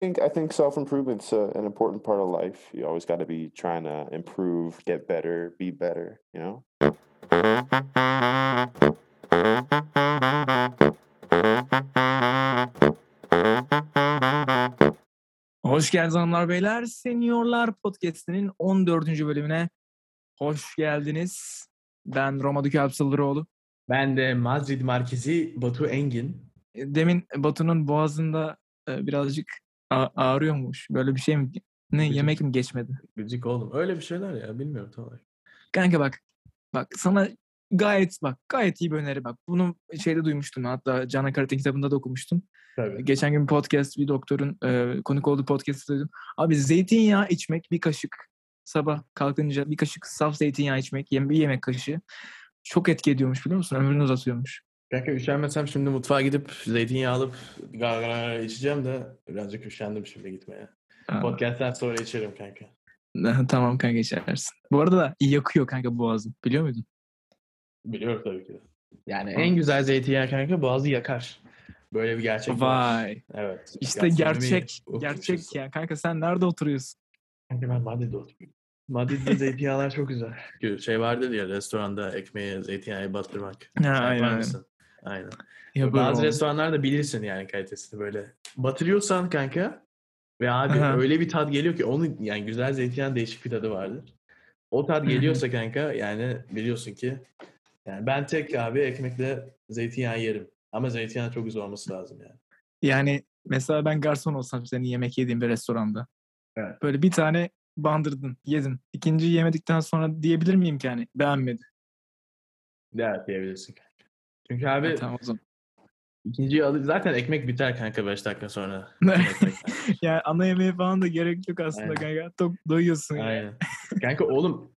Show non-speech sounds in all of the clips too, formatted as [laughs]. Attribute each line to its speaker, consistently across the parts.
Speaker 1: think I think self improvement's uh, an important part of life. You always got to be trying to improve, get better, be better. You know.
Speaker 2: Hoş geldiniz hanımlar beyler. Seniorlar Podcast'inin 14. bölümüne hoş geldiniz. Ben Roma Dükü Alpsalıroğlu.
Speaker 3: Ben de Madrid merkezi Batu Engin.
Speaker 2: Demin Batu'nun boğazında e, birazcık a- ağrıyormuş. Böyle bir şey mi? Ne
Speaker 3: Gıcık.
Speaker 2: yemek mi geçmedi?
Speaker 3: Gıcık oğlum. Öyle bir şeyler ya bilmiyorum tam olarak.
Speaker 2: Kanka bak. Bak sana gayet bak gayet iyi bir öneri bak. Bunu şeyde duymuştum hatta Cana Karat'ın kitabında da okumuştum.
Speaker 3: Tabii.
Speaker 2: Geçen gün podcast bir doktorun e, konuk olduğu podcast'ı duydum. Abi zeytinyağı içmek bir kaşık sabah kalkınca bir kaşık saf zeytinyağı içmek yem- bir yemek kaşığı çok etki ediyormuş biliyor musun? Ömrünü uzatıyormuş.
Speaker 3: Kanka üşenmesem şimdi mutfağa gidip zeytinyağı alıp gargara içeceğim de birazcık üşendim şimdi gitmeye.
Speaker 2: Aa,
Speaker 3: Podcast'ten sonra içerim kanka.
Speaker 2: [laughs] tamam kanka geçersin. Bu arada da yakıyor kanka boğazı. Biliyor muydun?
Speaker 3: Biliyorum tabii ki de. Yani
Speaker 2: Hı.
Speaker 3: en güzel zeytinyağı kanka boğazı yakar. Böyle bir gerçek var.
Speaker 2: Vay.
Speaker 3: Evet.
Speaker 2: İşte
Speaker 3: Gastronomi
Speaker 2: gerçek.
Speaker 3: okumuşuz.
Speaker 2: Gerçek ya. Kanka sen nerede oturuyorsun?
Speaker 3: Kanka ben Madrid'de oturuyorum. [laughs] Madrid'de zeytinyağlar çok güzel. Şey vardır ya restoranda ekmeğe zeytinyağı batırmak.
Speaker 2: Ha,
Speaker 3: Sen
Speaker 2: aynen,
Speaker 3: yapar
Speaker 2: aynen.
Speaker 3: mısın? Aynen.
Speaker 2: Ya böyle
Speaker 3: Bazı
Speaker 2: oldu.
Speaker 3: restoranlarda bilirsin yani kalitesini böyle. Batırıyorsan kanka ve abi
Speaker 2: Aha.
Speaker 3: öyle bir tat geliyor ki onun yani güzel zeytinyağın değişik bir tadı vardır. O tat
Speaker 2: hı.
Speaker 3: geliyorsa kanka yani biliyorsun ki yani ben tek abi ekmekle zeytinyağı yerim. Ama zeytinyağı çok güzel olması lazım yani.
Speaker 2: Yani mesela ben garson olsam senin yemek yediğin bir restoranda.
Speaker 3: Evet.
Speaker 2: Böyle bir tane bandırdın, yedin. İkinciyi yemedikten sonra diyebilir miyim ki hani beğenmedi?
Speaker 3: Evet diyebilirsin kanka. Çünkü abi
Speaker 2: Ha, E, tamam o
Speaker 3: [laughs]
Speaker 2: zaman.
Speaker 3: ikinciyi alı- zaten ekmek biter kanka 5 dakika sonra.
Speaker 2: [laughs] yani ana yemeğe falan da gerek yok aslında kanka. Tok
Speaker 3: [laughs]
Speaker 2: doyuyorsun. yani.
Speaker 3: Aynen. Kanka oğlum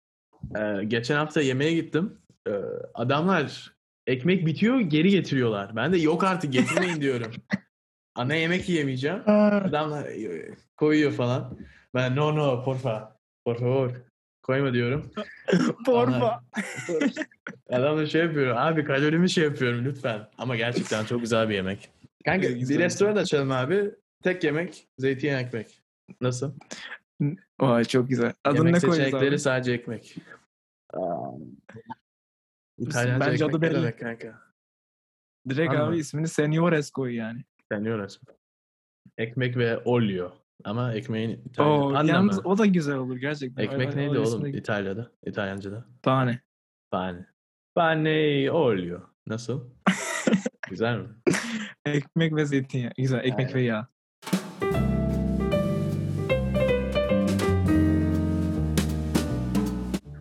Speaker 3: e, geçen hafta yemeğe gittim. E, adamlar ekmek bitiyor geri getiriyorlar. Ben de yok
Speaker 2: [laughs]
Speaker 3: artık getirmeyin diyorum. Ana yemek yemeyeceğim. [laughs]
Speaker 2: Aa,
Speaker 3: Adamlar e, koyuyor falan. Ben no no porfa. Por favor. Koyma diyorum.
Speaker 2: Porfa.
Speaker 3: [laughs] Adam da şey yapıyor. Abi kalorimi şey yapıyorum lütfen. Ama gerçekten çok güzel bir yemek. Kanka
Speaker 2: Evet,
Speaker 3: bir
Speaker 2: güzel.
Speaker 3: restoran açalım abi. Tek yemek zeytinyağı ekmek. Nasıl?
Speaker 2: Vay çok güzel. Adını
Speaker 3: Yemek
Speaker 2: ne koyacağız
Speaker 3: seçenekleri
Speaker 2: abi?
Speaker 3: sadece ekmek. İtalyanca
Speaker 2: Bence
Speaker 3: ekmek
Speaker 2: adı
Speaker 3: ne
Speaker 2: belli.
Speaker 3: demek kanka?
Speaker 2: Direkt
Speaker 3: Anladım.
Speaker 2: abi ismini Seniores koy yani.
Speaker 3: Deniyoruz. Ekmek ve olio. Ama ekmeğin İtalyan
Speaker 2: Oo,
Speaker 3: anlamı.
Speaker 2: yalnız o da güzel olur gerçekten.
Speaker 3: Ekmek
Speaker 2: Ay, ay,
Speaker 3: neydi
Speaker 2: ay,
Speaker 3: oğlum
Speaker 2: ismi de-
Speaker 3: İtalya'da? İtalyanca'da.
Speaker 2: Tane.
Speaker 3: Pane. Pane olio. Nasıl?
Speaker 2: [laughs]
Speaker 3: Güzel mi?
Speaker 2: Ekmek ve zeytinyağı. Güzel. Ekmek
Speaker 3: Aynen.
Speaker 2: ve yağ.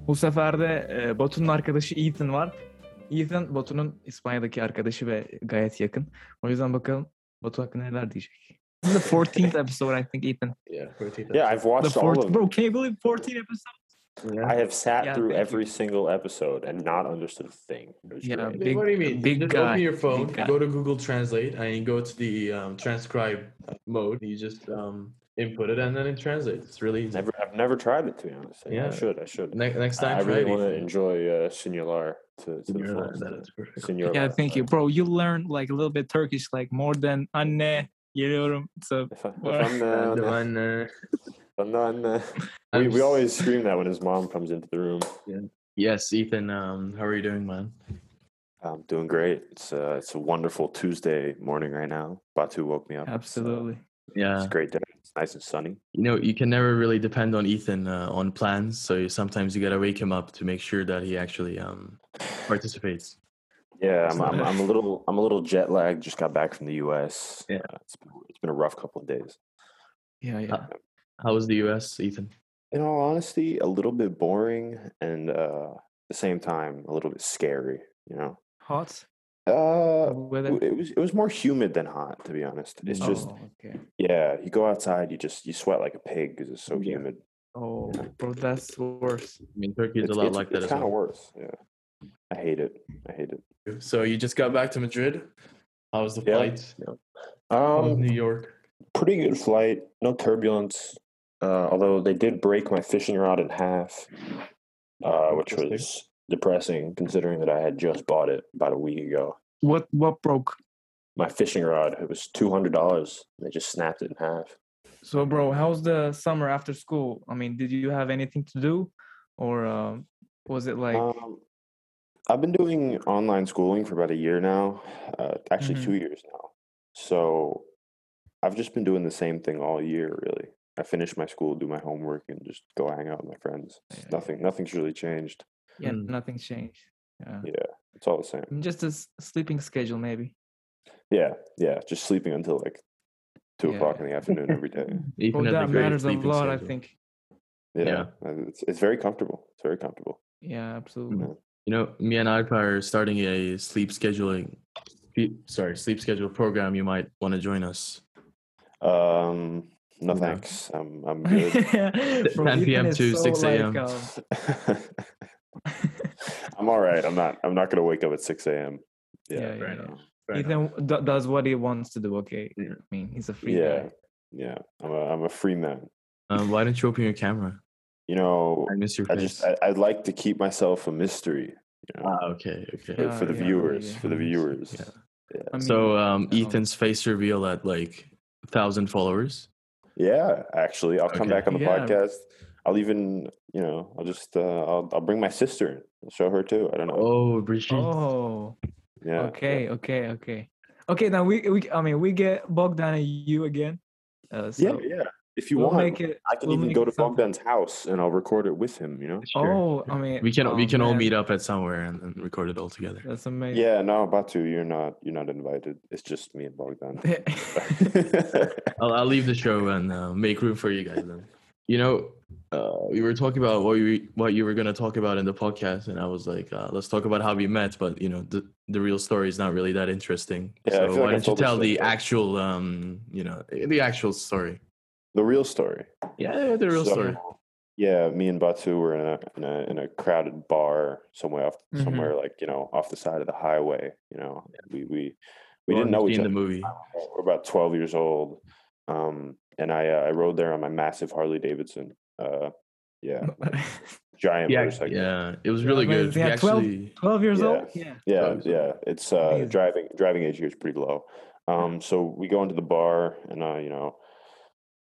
Speaker 2: Bu sefer de e, Batu'nun arkadaşı Ethan var. Ethan Batu'nun İspanya'daki arkadaşı ve gayet yakın. O yüzden bakalım Batu hakkında neler diyecek. This is the 14th episode I think Ethan.
Speaker 3: Yeah, pretty
Speaker 1: Yeah, I've
Speaker 2: The
Speaker 1: watched all
Speaker 2: 14
Speaker 1: of
Speaker 2: Bro
Speaker 1: them.
Speaker 2: can you believe 14 episode?
Speaker 1: I have sat
Speaker 2: Yeah,
Speaker 1: through
Speaker 2: thank you.
Speaker 1: every single episode and not understood a thing. It was
Speaker 2: Yeah,
Speaker 1: great.
Speaker 2: big-
Speaker 3: what do you mean?
Speaker 2: big
Speaker 3: just
Speaker 2: guy,
Speaker 3: open your phone,
Speaker 2: big guy.
Speaker 3: go to Google Translate, and you go to the um, transcribe mode. You just um, input it, and then it translates. It's really easy.
Speaker 1: Never, I've never tried it to be honest. I
Speaker 3: Yeah.
Speaker 1: should. I should.
Speaker 3: Ne- next
Speaker 1: I
Speaker 3: time,
Speaker 1: I
Speaker 3: try
Speaker 1: really
Speaker 3: it.
Speaker 1: want to enjoy uh, Senior to, to the
Speaker 3: You're right,
Speaker 1: fullest. uh,
Speaker 3: that is perfect.
Speaker 1: Senior
Speaker 2: Yeah thank you bro. You learn like a little bit Turkish like more than anne geliyorum. So
Speaker 1: If, I, if
Speaker 2: Well,
Speaker 1: I'm, uh,
Speaker 3: And
Speaker 1: if [laughs]
Speaker 3: then, uh,
Speaker 1: I'm not in the-
Speaker 3: I'm
Speaker 1: we, we
Speaker 3: s-
Speaker 1: always scream that when his mom comes into the room.
Speaker 3: Yes, Ethan. Um, how are you doing, man?
Speaker 1: I'm Um, doing great. It's uh, it's a wonderful Tuesday morning right now. Batu woke me up. It's, uh,
Speaker 2: absolutely.
Speaker 3: Yeah,
Speaker 1: It's a great day. It's nice and sunny.
Speaker 3: you know you can never really depend on Ethan uh, on plans, so you, sometimes you gotta wake him up to make sure that he actually um participates.
Speaker 1: Yeah,
Speaker 3: It's
Speaker 1: I'm,
Speaker 3: not
Speaker 1: I'm,
Speaker 3: bad.
Speaker 1: I'm a little I'm a little jet lagged. Just got back from the U.S.
Speaker 3: Yeah.
Speaker 1: Uh, it's been, it's been a rough couple of days.
Speaker 2: Yeah yeah.
Speaker 3: How was the U.S., Ethan?
Speaker 1: In all honesty, a little bit boring and uh, at the same time a little bit scary. You know,
Speaker 2: Hot
Speaker 1: uh,
Speaker 2: weather.
Speaker 1: it was it was more humid than hot. To be honest, it's just
Speaker 2: Oh, okay.
Speaker 1: yeah. You go outside, you just you sweat like a pig because it's so
Speaker 3: Yeah.
Speaker 1: humid.
Speaker 2: Oh, bro, that's worse.
Speaker 3: I mean, Turkey is a
Speaker 1: it's,
Speaker 3: lot
Speaker 1: it's,
Speaker 3: like that as
Speaker 1: kind of
Speaker 3: well.
Speaker 1: worse. Yeah, I hate it. I hate it.
Speaker 3: So you just got back to Madrid. How was the
Speaker 1: Yeah.
Speaker 3: flight? How was
Speaker 1: Um,
Speaker 3: New York.
Speaker 1: pretty good flight, no turbulence. Uh, although they did break my fishing rod in half, uh, which
Speaker 3: Interesting.
Speaker 1: was depressing considering that I had just bought it about a week ago.
Speaker 2: What what broke?
Speaker 1: My fishing rod, it was two hundred dollars. They just snapped it in half.
Speaker 2: So, bro, how's the summer after school? I mean, did you have anything to do, or um, was it like?
Speaker 3: Uh,
Speaker 1: Um, I've been doing online schooling for about a year now, uh, actually
Speaker 2: Mhm.
Speaker 1: two years now. So I've just been doing the same thing all year, really. I finish my school, do my homework, and just go hang out with my friends. It's
Speaker 2: Yeah.
Speaker 1: Nothing, nothing's really changed.
Speaker 2: yeah,
Speaker 3: Hmm.
Speaker 2: nothing changed. Yeah.
Speaker 1: It's all the same.
Speaker 2: I mean, Just a s- sleeping schedule, maybe.
Speaker 1: Yeah, yeah. Just sleeping until like two
Speaker 2: Yeah,
Speaker 1: o'clock in the afternoon every
Speaker 2: [laughs]
Speaker 1: day.
Speaker 3: Ethan
Speaker 2: Well,
Speaker 3: has a
Speaker 2: that
Speaker 3: great
Speaker 2: matters a
Speaker 3: sleeping
Speaker 2: lot, I
Speaker 3: schedule.
Speaker 2: think.
Speaker 1: Yeah, uh, it's it's very comfortable. It's very comfortable.
Speaker 2: Yeah,
Speaker 3: [laughs]
Speaker 2: absolutely.
Speaker 3: You know, me and Alper are starting a sleep scheduling, sleep- sorry, sleep schedule program. You might want to join us.
Speaker 1: Um, no
Speaker 3: Yeah.
Speaker 1: thanks. I'm
Speaker 2: [laughs]
Speaker 1: I'm good.
Speaker 3: [laughs]
Speaker 2: Bro,
Speaker 3: 10
Speaker 2: Ethan
Speaker 3: PM
Speaker 2: is
Speaker 3: to
Speaker 2: so,
Speaker 3: 6
Speaker 2: like,
Speaker 3: AM. [laughs]
Speaker 2: um,
Speaker 1: [laughs] I'm all right. I'm not. I'm not gonna wake up at six a.m. Yeah,
Speaker 2: Yeah,
Speaker 3: fair
Speaker 2: yeah.
Speaker 3: enough.
Speaker 2: Ethan d- does what he wants to do. Okay,
Speaker 3: Yeah.
Speaker 2: I mean, he's a free
Speaker 1: yeah,
Speaker 2: guy.
Speaker 1: yeah. I'm a I'm a free man.
Speaker 3: Um, why don't you open your camera?
Speaker 1: You know,
Speaker 3: I miss your
Speaker 1: I
Speaker 3: face.
Speaker 1: just I, I'd like to keep myself a mystery. You know,
Speaker 3: ah, okay,
Speaker 1: for,
Speaker 3: okay.
Speaker 1: for
Speaker 2: yeah,
Speaker 1: the
Speaker 2: yeah,
Speaker 1: viewers,
Speaker 2: yeah.
Speaker 1: for the viewers.
Speaker 3: Yeah.
Speaker 2: I mean,
Speaker 3: So, um,
Speaker 2: you know.
Speaker 3: Ethan's face reveal at like thousand followers.
Speaker 1: Yeah, actually, I'll come
Speaker 3: Okay.
Speaker 1: back on the
Speaker 2: Yeah.
Speaker 1: podcast. I'll even, you know, I'll just, uh, I'll, I'll bring my sister. in. I'll show her too. I don't know.
Speaker 3: Oh, Brigitte.
Speaker 2: oh,
Speaker 1: yeah.
Speaker 2: okay, okay, okay, okay. Now we, we, I mean, we get Bogdan and you again. Uh,
Speaker 1: Yeah,
Speaker 2: so
Speaker 1: yeah. If you
Speaker 2: we'll
Speaker 1: want,
Speaker 2: make it.
Speaker 1: I can
Speaker 2: we'll
Speaker 1: even
Speaker 2: make
Speaker 1: go
Speaker 2: it
Speaker 1: to
Speaker 2: something.
Speaker 1: Bogdan's house and I'll record it with him. You know.
Speaker 3: Sure.
Speaker 2: Oh, I mean,
Speaker 3: we can
Speaker 2: oh,
Speaker 3: we can all
Speaker 2: man,
Speaker 3: meet up at somewhere and, and record it all together.
Speaker 2: That's amazing.
Speaker 1: Yeah. No, Batu, you're not, you're not invited. It's just me and
Speaker 3: [laughs]
Speaker 1: Bogdan. [laughs]
Speaker 3: I'll, I'll leave the show and uh, make room for you guys. Then. You know, uh, we were talking about what you what you were gonna talk about in the podcast, and I was like, uh, let's talk about how we met. But you know, the the real story is not really that interesting.
Speaker 1: Yeah, I
Speaker 3: so
Speaker 1: feel
Speaker 3: why
Speaker 1: like I
Speaker 3: don't you
Speaker 1: told this
Speaker 3: tell the
Speaker 1: story.
Speaker 3: actual, um, you know, the actual story?
Speaker 1: the real story.
Speaker 3: Yeah, the real
Speaker 1: So,
Speaker 3: story.
Speaker 1: Yeah, me and Batu were in a in a, in a crowded bar somewhere off
Speaker 3: Mm-hmm.
Speaker 2: Mhm.
Speaker 1: somewhere like you know off the side of the highway. You know, we we we
Speaker 3: Well,
Speaker 1: didn't know
Speaker 3: you've
Speaker 1: each
Speaker 3: seen
Speaker 1: other.
Speaker 3: the movie.
Speaker 1: We're about twelve years old, um, and I uh, I rode there on my massive Harley Davidson. Uh,
Speaker 3: [laughs]
Speaker 1: yeah, giant
Speaker 3: Yeah,
Speaker 1: motorcycle.
Speaker 3: yeah, it was
Speaker 2: Yeah,
Speaker 3: really
Speaker 2: but
Speaker 3: good.
Speaker 2: yeah,
Speaker 3: we
Speaker 2: 12
Speaker 3: actually,
Speaker 2: [laughs] Twelve years
Speaker 1: Yeah.
Speaker 2: old. Yeah.
Speaker 1: yeah,
Speaker 3: Probably so.
Speaker 1: yeah. It's uh,
Speaker 2: Amazing.
Speaker 1: driving driving age here is pretty low. Um, so we go into the bar, and uh, you know,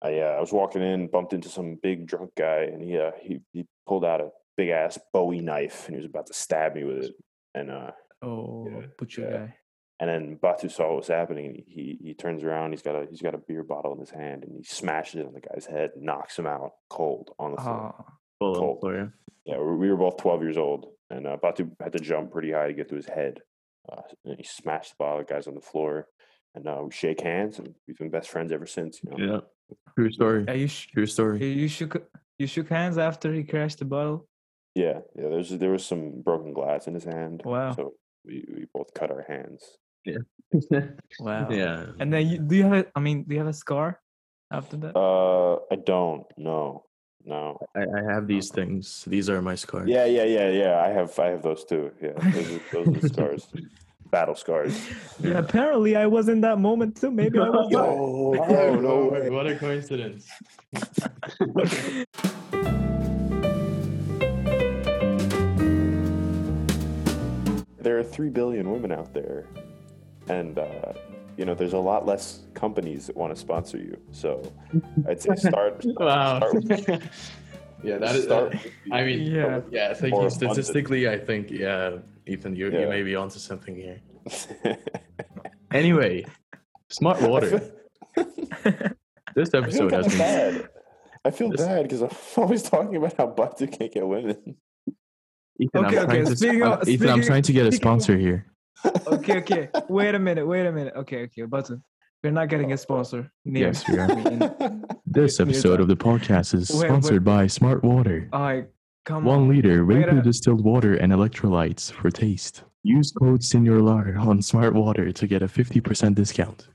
Speaker 1: I uh, I was walking in, bumped into some big drunk guy, and he uh, he he pulled out a big ass Bowie knife, and he was about to stab me with it, and uh,
Speaker 2: Oh, butcher
Speaker 1: yeah.
Speaker 2: guy.
Speaker 1: and then Batu saw what was happening. And he he turns around. He's got a he's got a beer bottle in his hand, and he smashes it on the guy's head, knocks him out cold on the floor.
Speaker 2: Ah,
Speaker 3: well,
Speaker 1: Cold.
Speaker 3: sorry.
Speaker 1: Yeah, we we were both twelve years old, and uh, Batu had to jump pretty high to get to his head. Uh, and he smashed the bottle. The guy's on the floor, and uh, we shake hands, and we've been best friends ever since. You know?
Speaker 3: yeah, true story.
Speaker 2: yeah, you, sh-
Speaker 3: True story. [laughs]
Speaker 2: you shook you shook hands after he crashed the bottle.
Speaker 1: Yeah, yeah. There's there was some broken glass in his hand.
Speaker 2: Wow.
Speaker 1: So we, we both cut our hands.
Speaker 2: Wow.
Speaker 3: yeah.
Speaker 2: And then you, do you have? A, I mean, do you have a scar after that?
Speaker 1: Uh, I don't. No, no.
Speaker 3: I, I have these things. These are my scars. [laughs]
Speaker 1: Yeah, yeah, yeah, yeah. I have I have those too. Yeah, those are, those
Speaker 2: [laughs]
Speaker 1: are the scars. Battle scars.
Speaker 2: yeah. Apparently, I was in that moment too.
Speaker 1: [laughs]
Speaker 2: Maybe [laughs] I was. not.
Speaker 1: Yo, yo, no way.
Speaker 3: Oh, What a coincidence.
Speaker 1: There are three billion women out there, and uh, you know there's a lot less companies that want to sponsor you. So I'd say
Speaker 2: [laughs]
Speaker 1: start.
Speaker 3: Wow.
Speaker 1: Start with-
Speaker 3: [laughs] yeah, that is.
Speaker 1: start
Speaker 3: that-
Speaker 1: with
Speaker 3: I
Speaker 1: you.
Speaker 3: mean, yeah,
Speaker 1: [laughs]
Speaker 2: Yeah.
Speaker 3: yeah. Thank
Speaker 1: Or
Speaker 3: you.
Speaker 1: a bunch of-
Speaker 3: Statistically, I think, yeah, Ethan, you you
Speaker 1: Yeah.
Speaker 3: may be onto something here. Anyway,
Speaker 1: [laughs]
Speaker 3: smart water. this
Speaker 1: I feel
Speaker 3: episode
Speaker 1: kind
Speaker 3: has
Speaker 1: of
Speaker 3: been.
Speaker 1: bad. I feel
Speaker 3: This-
Speaker 1: bad because I'm [laughs] always talking about how Batu can't get women.
Speaker 3: Ethan,
Speaker 2: Okay,
Speaker 3: I'm trying
Speaker 2: okay,
Speaker 3: to,
Speaker 2: speaking
Speaker 3: I'm-
Speaker 2: of-
Speaker 3: Ethan, I'm
Speaker 2: speaking-
Speaker 3: trying to get a
Speaker 2: speaking of-
Speaker 3: sponsor here.
Speaker 2: okay, okay. Wait a minute. Wait a minute. Okay, okay. Button. We're not getting a sponsor. Near.
Speaker 3: Yes, we are.
Speaker 1: [laughs]
Speaker 2: I mean,
Speaker 3: This
Speaker 2: Near
Speaker 3: episode
Speaker 2: time.
Speaker 3: of the podcast is
Speaker 2: Wait, wait.
Speaker 3: sponsored by Smart Water.
Speaker 2: all right. Come on.
Speaker 3: One liter
Speaker 2: Wait
Speaker 3: vapor
Speaker 2: a-
Speaker 3: distilled water and electrolytes for taste. Use code SeniorLar on Smart Water to get a 50% discount.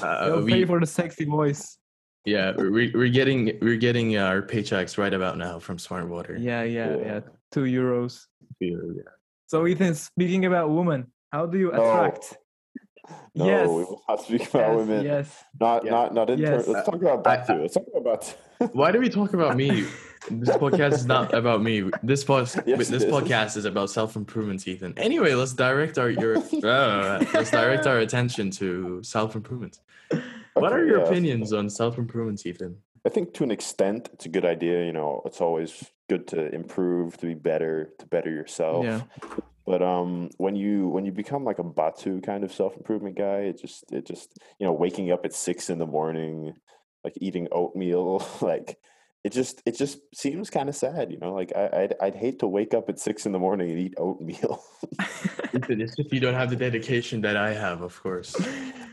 Speaker 1: Uh,
Speaker 2: They'll pay for the sexy voice.
Speaker 3: Uh, yeah, we, we're getting we're getting our paychecks right about now from Smart Water. uh,
Speaker 2: Yeah, yeah,
Speaker 1: Yeah.
Speaker 2: yeah. Two euros. So Ethan, speaking about women, how do you
Speaker 1: No.
Speaker 2: attract?
Speaker 1: No,
Speaker 2: yes.
Speaker 1: we will not speak about
Speaker 2: yes,
Speaker 1: women. [laughs]
Speaker 2: yes.
Speaker 1: Not,
Speaker 3: Yeah.
Speaker 1: not, not in
Speaker 2: Yes.
Speaker 1: turn. Let's talk about
Speaker 3: I-
Speaker 1: Batu. Let's talk about Batu.
Speaker 3: Why do we talk about me? This podcast is not about me. This pos-
Speaker 1: Yes,
Speaker 3: this
Speaker 1: it is.
Speaker 3: podcast is about self improvement, Ethan. Anyway, let's direct our your uh, let's direct our attention to self improvement.
Speaker 1: [laughs]
Speaker 3: what
Speaker 1: Okay,
Speaker 3: are your
Speaker 1: yeah.
Speaker 3: opinions on self improvement,
Speaker 2: [laughs]
Speaker 3: Ethan?
Speaker 1: I think to an extent, it's a good idea. You know, it's always good to improve, to be better, to better yourself.
Speaker 2: Yeah.
Speaker 1: But um, when you when you become like a Batu kind of self improvement guy, it just it just you know waking up at six in the morning, like eating oatmeal, [laughs] like it just it just seems kind of sad. You know, like I, I'd I'd hate to wake up at six in the morning and eat oatmeal.
Speaker 3: Ethan, it's if you don't have the dedication that I have, of course.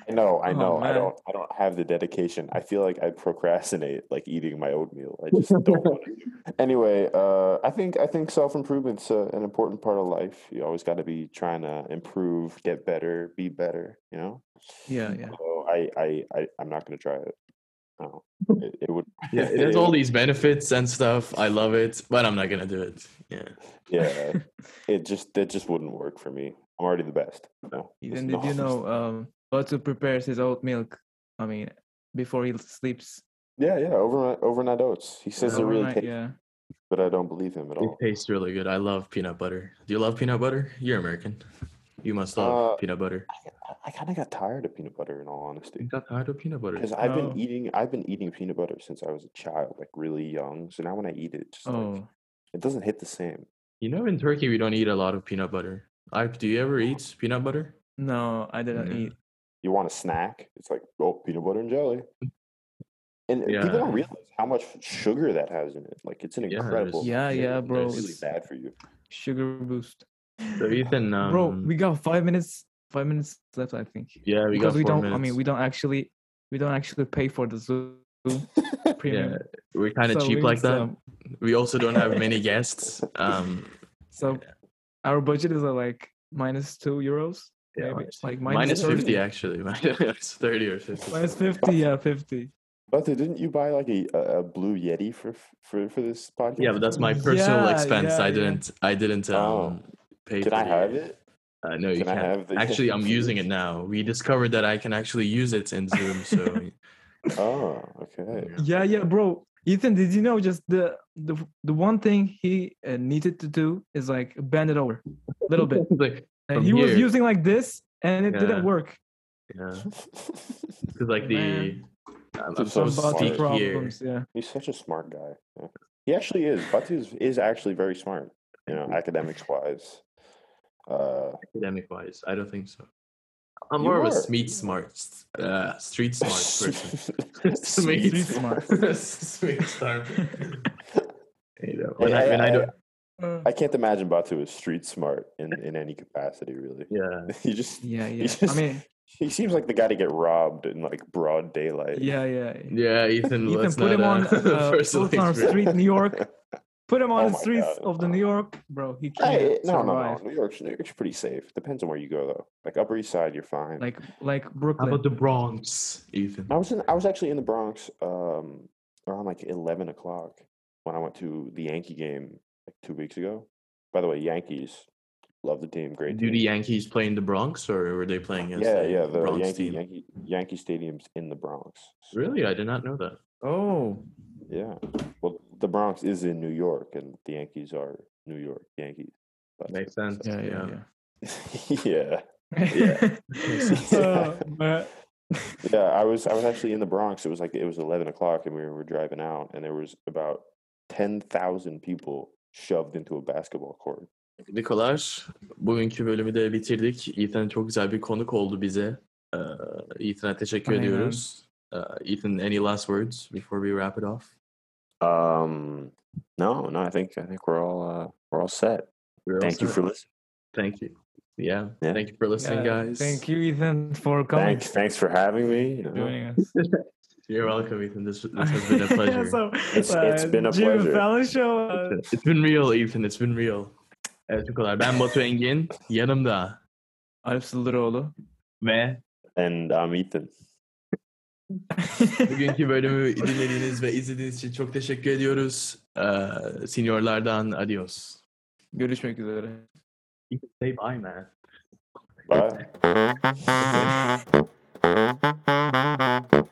Speaker 1: I know, I
Speaker 2: Oh,
Speaker 1: know. I
Speaker 2: man.
Speaker 1: don't. I don't have the dedication. I feel like I procrastinate, like eating my oatmeal. I just
Speaker 2: [laughs]
Speaker 1: don't. want to. Anyway, uh, I think I think self improvement's uh, an important part of life. You always got to be trying to improve, get better, be better. You know.
Speaker 2: Yeah, yeah.
Speaker 1: So I, I, I I'm not gonna try it. No, it, it
Speaker 2: [laughs]
Speaker 1: would.
Speaker 3: Yeah, [laughs] it has all these benefits and stuff. I love it, but I'm not gonna do it. Yeah.
Speaker 1: Yeah, it just it just wouldn't work for me. I'm already the best. No. there's
Speaker 2: Ethan, did
Speaker 1: no-
Speaker 2: you know um, Batu prepares his oat milk? I mean, before he sleeps.
Speaker 1: Yeah, yeah. Overnight overnight oats. He says they're really
Speaker 2: Overnight,
Speaker 1: tasty,
Speaker 2: yeah.
Speaker 1: but I don't believe him at
Speaker 3: It
Speaker 1: all.
Speaker 3: tastes really good. I love peanut butter. Do you love peanut butter? You're American. You must love
Speaker 1: Uh,
Speaker 3: peanut butter.
Speaker 1: I- I kind of got tired of peanut butter, in all honesty.
Speaker 3: You got tired of peanut butter.
Speaker 1: Because I've
Speaker 2: Oh.
Speaker 1: been eating, I've been eating peanut butter since I was a child, like really young. So now when I eat it, it's just like,
Speaker 2: Oh,
Speaker 1: it doesn't hit the same.
Speaker 3: You know, in Turkey, we don't eat a lot of peanut butter. I, do you ever eat peanut butter?
Speaker 2: no, I didn't
Speaker 3: Yeah.
Speaker 2: eat.
Speaker 1: You want a snack? It's like oh, peanut butter and jelly. And uh, people
Speaker 3: Mm. Yeah.
Speaker 1: don't realize how much sugar that has in it. Like it's an
Speaker 3: Yeah, there's-
Speaker 1: incredible.
Speaker 2: Yeah,
Speaker 3: yeah,
Speaker 2: yeah, bro.
Speaker 1: It's really
Speaker 2: it's
Speaker 1: bad for you.
Speaker 2: Sugar boost.
Speaker 3: So Ethan, um,
Speaker 2: bro, we got five minutes. Five minutes left, I think.
Speaker 3: yeah, we got
Speaker 2: because we
Speaker 3: 4
Speaker 2: don't.
Speaker 3: Minutes.
Speaker 2: I mean, we don't actually. We don't actually pay for the zoo premium.
Speaker 3: yeah, we're kind of
Speaker 2: So
Speaker 3: cheap
Speaker 2: we
Speaker 3: like
Speaker 2: would,
Speaker 3: that.
Speaker 2: um,
Speaker 3: We also don't have [laughs] many guests. Um,
Speaker 2: So our budget is uh, like minus two euros.
Speaker 3: yeah,
Speaker 2: maybe.
Speaker 3: minus-
Speaker 2: Like minus,
Speaker 3: minus fifty actually, [laughs] minus thirty or fifty.
Speaker 2: Minus fifty. Yeah, fifty.
Speaker 1: But didn't you buy like a, a a blue Yeti for f- for for this podcast?
Speaker 3: Yeah, but that's
Speaker 1: [laughs]
Speaker 3: my personal
Speaker 2: Yeah,
Speaker 3: expense.
Speaker 2: yeah,
Speaker 3: I
Speaker 2: yeah.
Speaker 3: didn't. I didn't. Um,
Speaker 1: Oh.
Speaker 3: pay.
Speaker 1: Can
Speaker 3: for
Speaker 1: I
Speaker 3: the-
Speaker 1: have it?
Speaker 3: Uh, no, you
Speaker 1: Can I
Speaker 3: can't.
Speaker 1: have the-
Speaker 3: actually,
Speaker 1: [laughs]
Speaker 3: I'm using it now. We discovered that I can actually use it in Zoom.
Speaker 1: [laughs]
Speaker 3: So
Speaker 1: Oh, okay.
Speaker 3: [laughs]
Speaker 2: Yeah, yeah, bro. Ethan, did you know just the the the one thing he uh, needed to do is like bend it over a little bit,
Speaker 3: [laughs] Like,
Speaker 2: and
Speaker 3: From
Speaker 2: he was
Speaker 3: here.
Speaker 2: using like this, and it
Speaker 3: Yeah.
Speaker 2: didn't work.
Speaker 3: yeah,
Speaker 1: [laughs]
Speaker 3: [laughs] because like the um,
Speaker 2: Man.
Speaker 3: I'm, I'm
Speaker 1: Some
Speaker 3: so
Speaker 1: Those
Speaker 2: Some body
Speaker 3: smart
Speaker 1: smart
Speaker 3: here.
Speaker 2: problems. Yeah,
Speaker 1: He's such a smart guy. Yeah. He actually is. Batu is, is actually very smart, you know, academics wise. Uh, [laughs]
Speaker 3: academic wise. I don't think so. I'm
Speaker 1: You
Speaker 3: more of a
Speaker 1: are.
Speaker 3: street smart, uh, street
Speaker 1: [laughs]
Speaker 3: smart person.
Speaker 1: Sweet
Speaker 3: Sweet
Speaker 1: smart.
Speaker 3: street smart. you know,
Speaker 1: Hey,
Speaker 3: when I,
Speaker 1: I-
Speaker 3: when [laughs] I,
Speaker 1: I-
Speaker 3: do,
Speaker 2: Uh,
Speaker 1: I can't imagine Batu is street smart in, in any capacity, really. [laughs]
Speaker 3: yeah,
Speaker 1: He just [laughs]
Speaker 2: yeah, yeah.
Speaker 1: just-
Speaker 2: I mean,
Speaker 1: he seems like the guy to get robbed in like broad daylight.
Speaker 2: yeah, yeah. yeah.
Speaker 3: yeah, Ethan,
Speaker 2: Ethan,
Speaker 3: let's
Speaker 2: put
Speaker 3: not,
Speaker 2: him on
Speaker 3: uh, [laughs]
Speaker 2: uh,
Speaker 3: personally
Speaker 2: put on
Speaker 3: experience-
Speaker 2: street New York. Put him on
Speaker 1: Oh
Speaker 2: the
Speaker 1: my
Speaker 2: streets
Speaker 1: God.
Speaker 2: of the New York, bro. He can't
Speaker 1: [laughs] Hey, no, no, no.
Speaker 2: survive.
Speaker 1: New York's New York's pretty safe. Depends on where you go though. Like Upper East Side, you're fine.
Speaker 2: Like like
Speaker 3: How
Speaker 2: Brooklyn.
Speaker 3: about the Bronx, Ethan?
Speaker 1: I was in, I was actually in the Bronx um, around like eleven o'clock when I went to the Yankee game like two weeks ago. By the way, Yankees love the team, great
Speaker 3: Do
Speaker 1: team.
Speaker 3: the Yankees play in the Bronx, or were they playing against
Speaker 1: yeah,
Speaker 3: the
Speaker 1: yeah, the
Speaker 3: Bronx
Speaker 1: Yankee,
Speaker 3: team?
Speaker 1: Yankee Yankee Stadium's in the Bronx.
Speaker 3: Really, I did not know that.
Speaker 2: oh,
Speaker 1: Yeah, well, the Bronx is in New York, and the Yankees are New York Yankees. But-
Speaker 3: Makes sense.
Speaker 2: yeah, yeah,
Speaker 1: [laughs] yeah,
Speaker 2: yeah. [laughs]
Speaker 1: Yeah.
Speaker 2: Uh,
Speaker 1: [laughs]
Speaker 2: but-
Speaker 1: yeah. I was I was actually in the Bronx. It was like it was eleven o'clock, and we were driving out, and there was about ten thousand people shoved into a basketball court.
Speaker 3: Nikolaj, bugünkü bölümü de bitirdik. Ethan çok güzel bir konuk oldu bize. Ee, Ethan'a teşekkür
Speaker 2: Aynen.
Speaker 3: ediyoruz. Ee, Ethan, any last words before we wrap it off?
Speaker 1: Um, no, no. I think I think we're all uh, we're all set.
Speaker 3: We're
Speaker 1: Thank you
Speaker 3: also-
Speaker 1: for listening.
Speaker 3: Thank you. Yeah.
Speaker 1: Yeah.
Speaker 3: Thank you for listening,
Speaker 2: Yeah,
Speaker 3: guys.
Speaker 2: Thank you, Ethan, for coming.
Speaker 1: Thanks, thanks for having me. you know.
Speaker 2: Joining
Speaker 1: [laughs]
Speaker 2: us.
Speaker 3: You're welcome, Ethan. This, this
Speaker 2: [laughs]
Speaker 3: has been a pleasure.
Speaker 2: so,
Speaker 1: It's- it's been a
Speaker 2: Jimmy
Speaker 1: pleasure.
Speaker 2: Fallon Show, uh,
Speaker 3: it's been real, Ethan. It's been real. Evet, bu kadar. Ben Batu Engin. Yanımda.
Speaker 2: Alp [laughs] Sıldıroğlu.
Speaker 3: Ve
Speaker 1: And I'm Ethan.
Speaker 3: bugünkü bölümü dinlediğiniz ve izlediğiniz için çok teşekkür ediyoruz. Ee, seniorlardan adios.
Speaker 2: Görüşmek üzere.
Speaker 3: You can save I, man.
Speaker 1: Bye.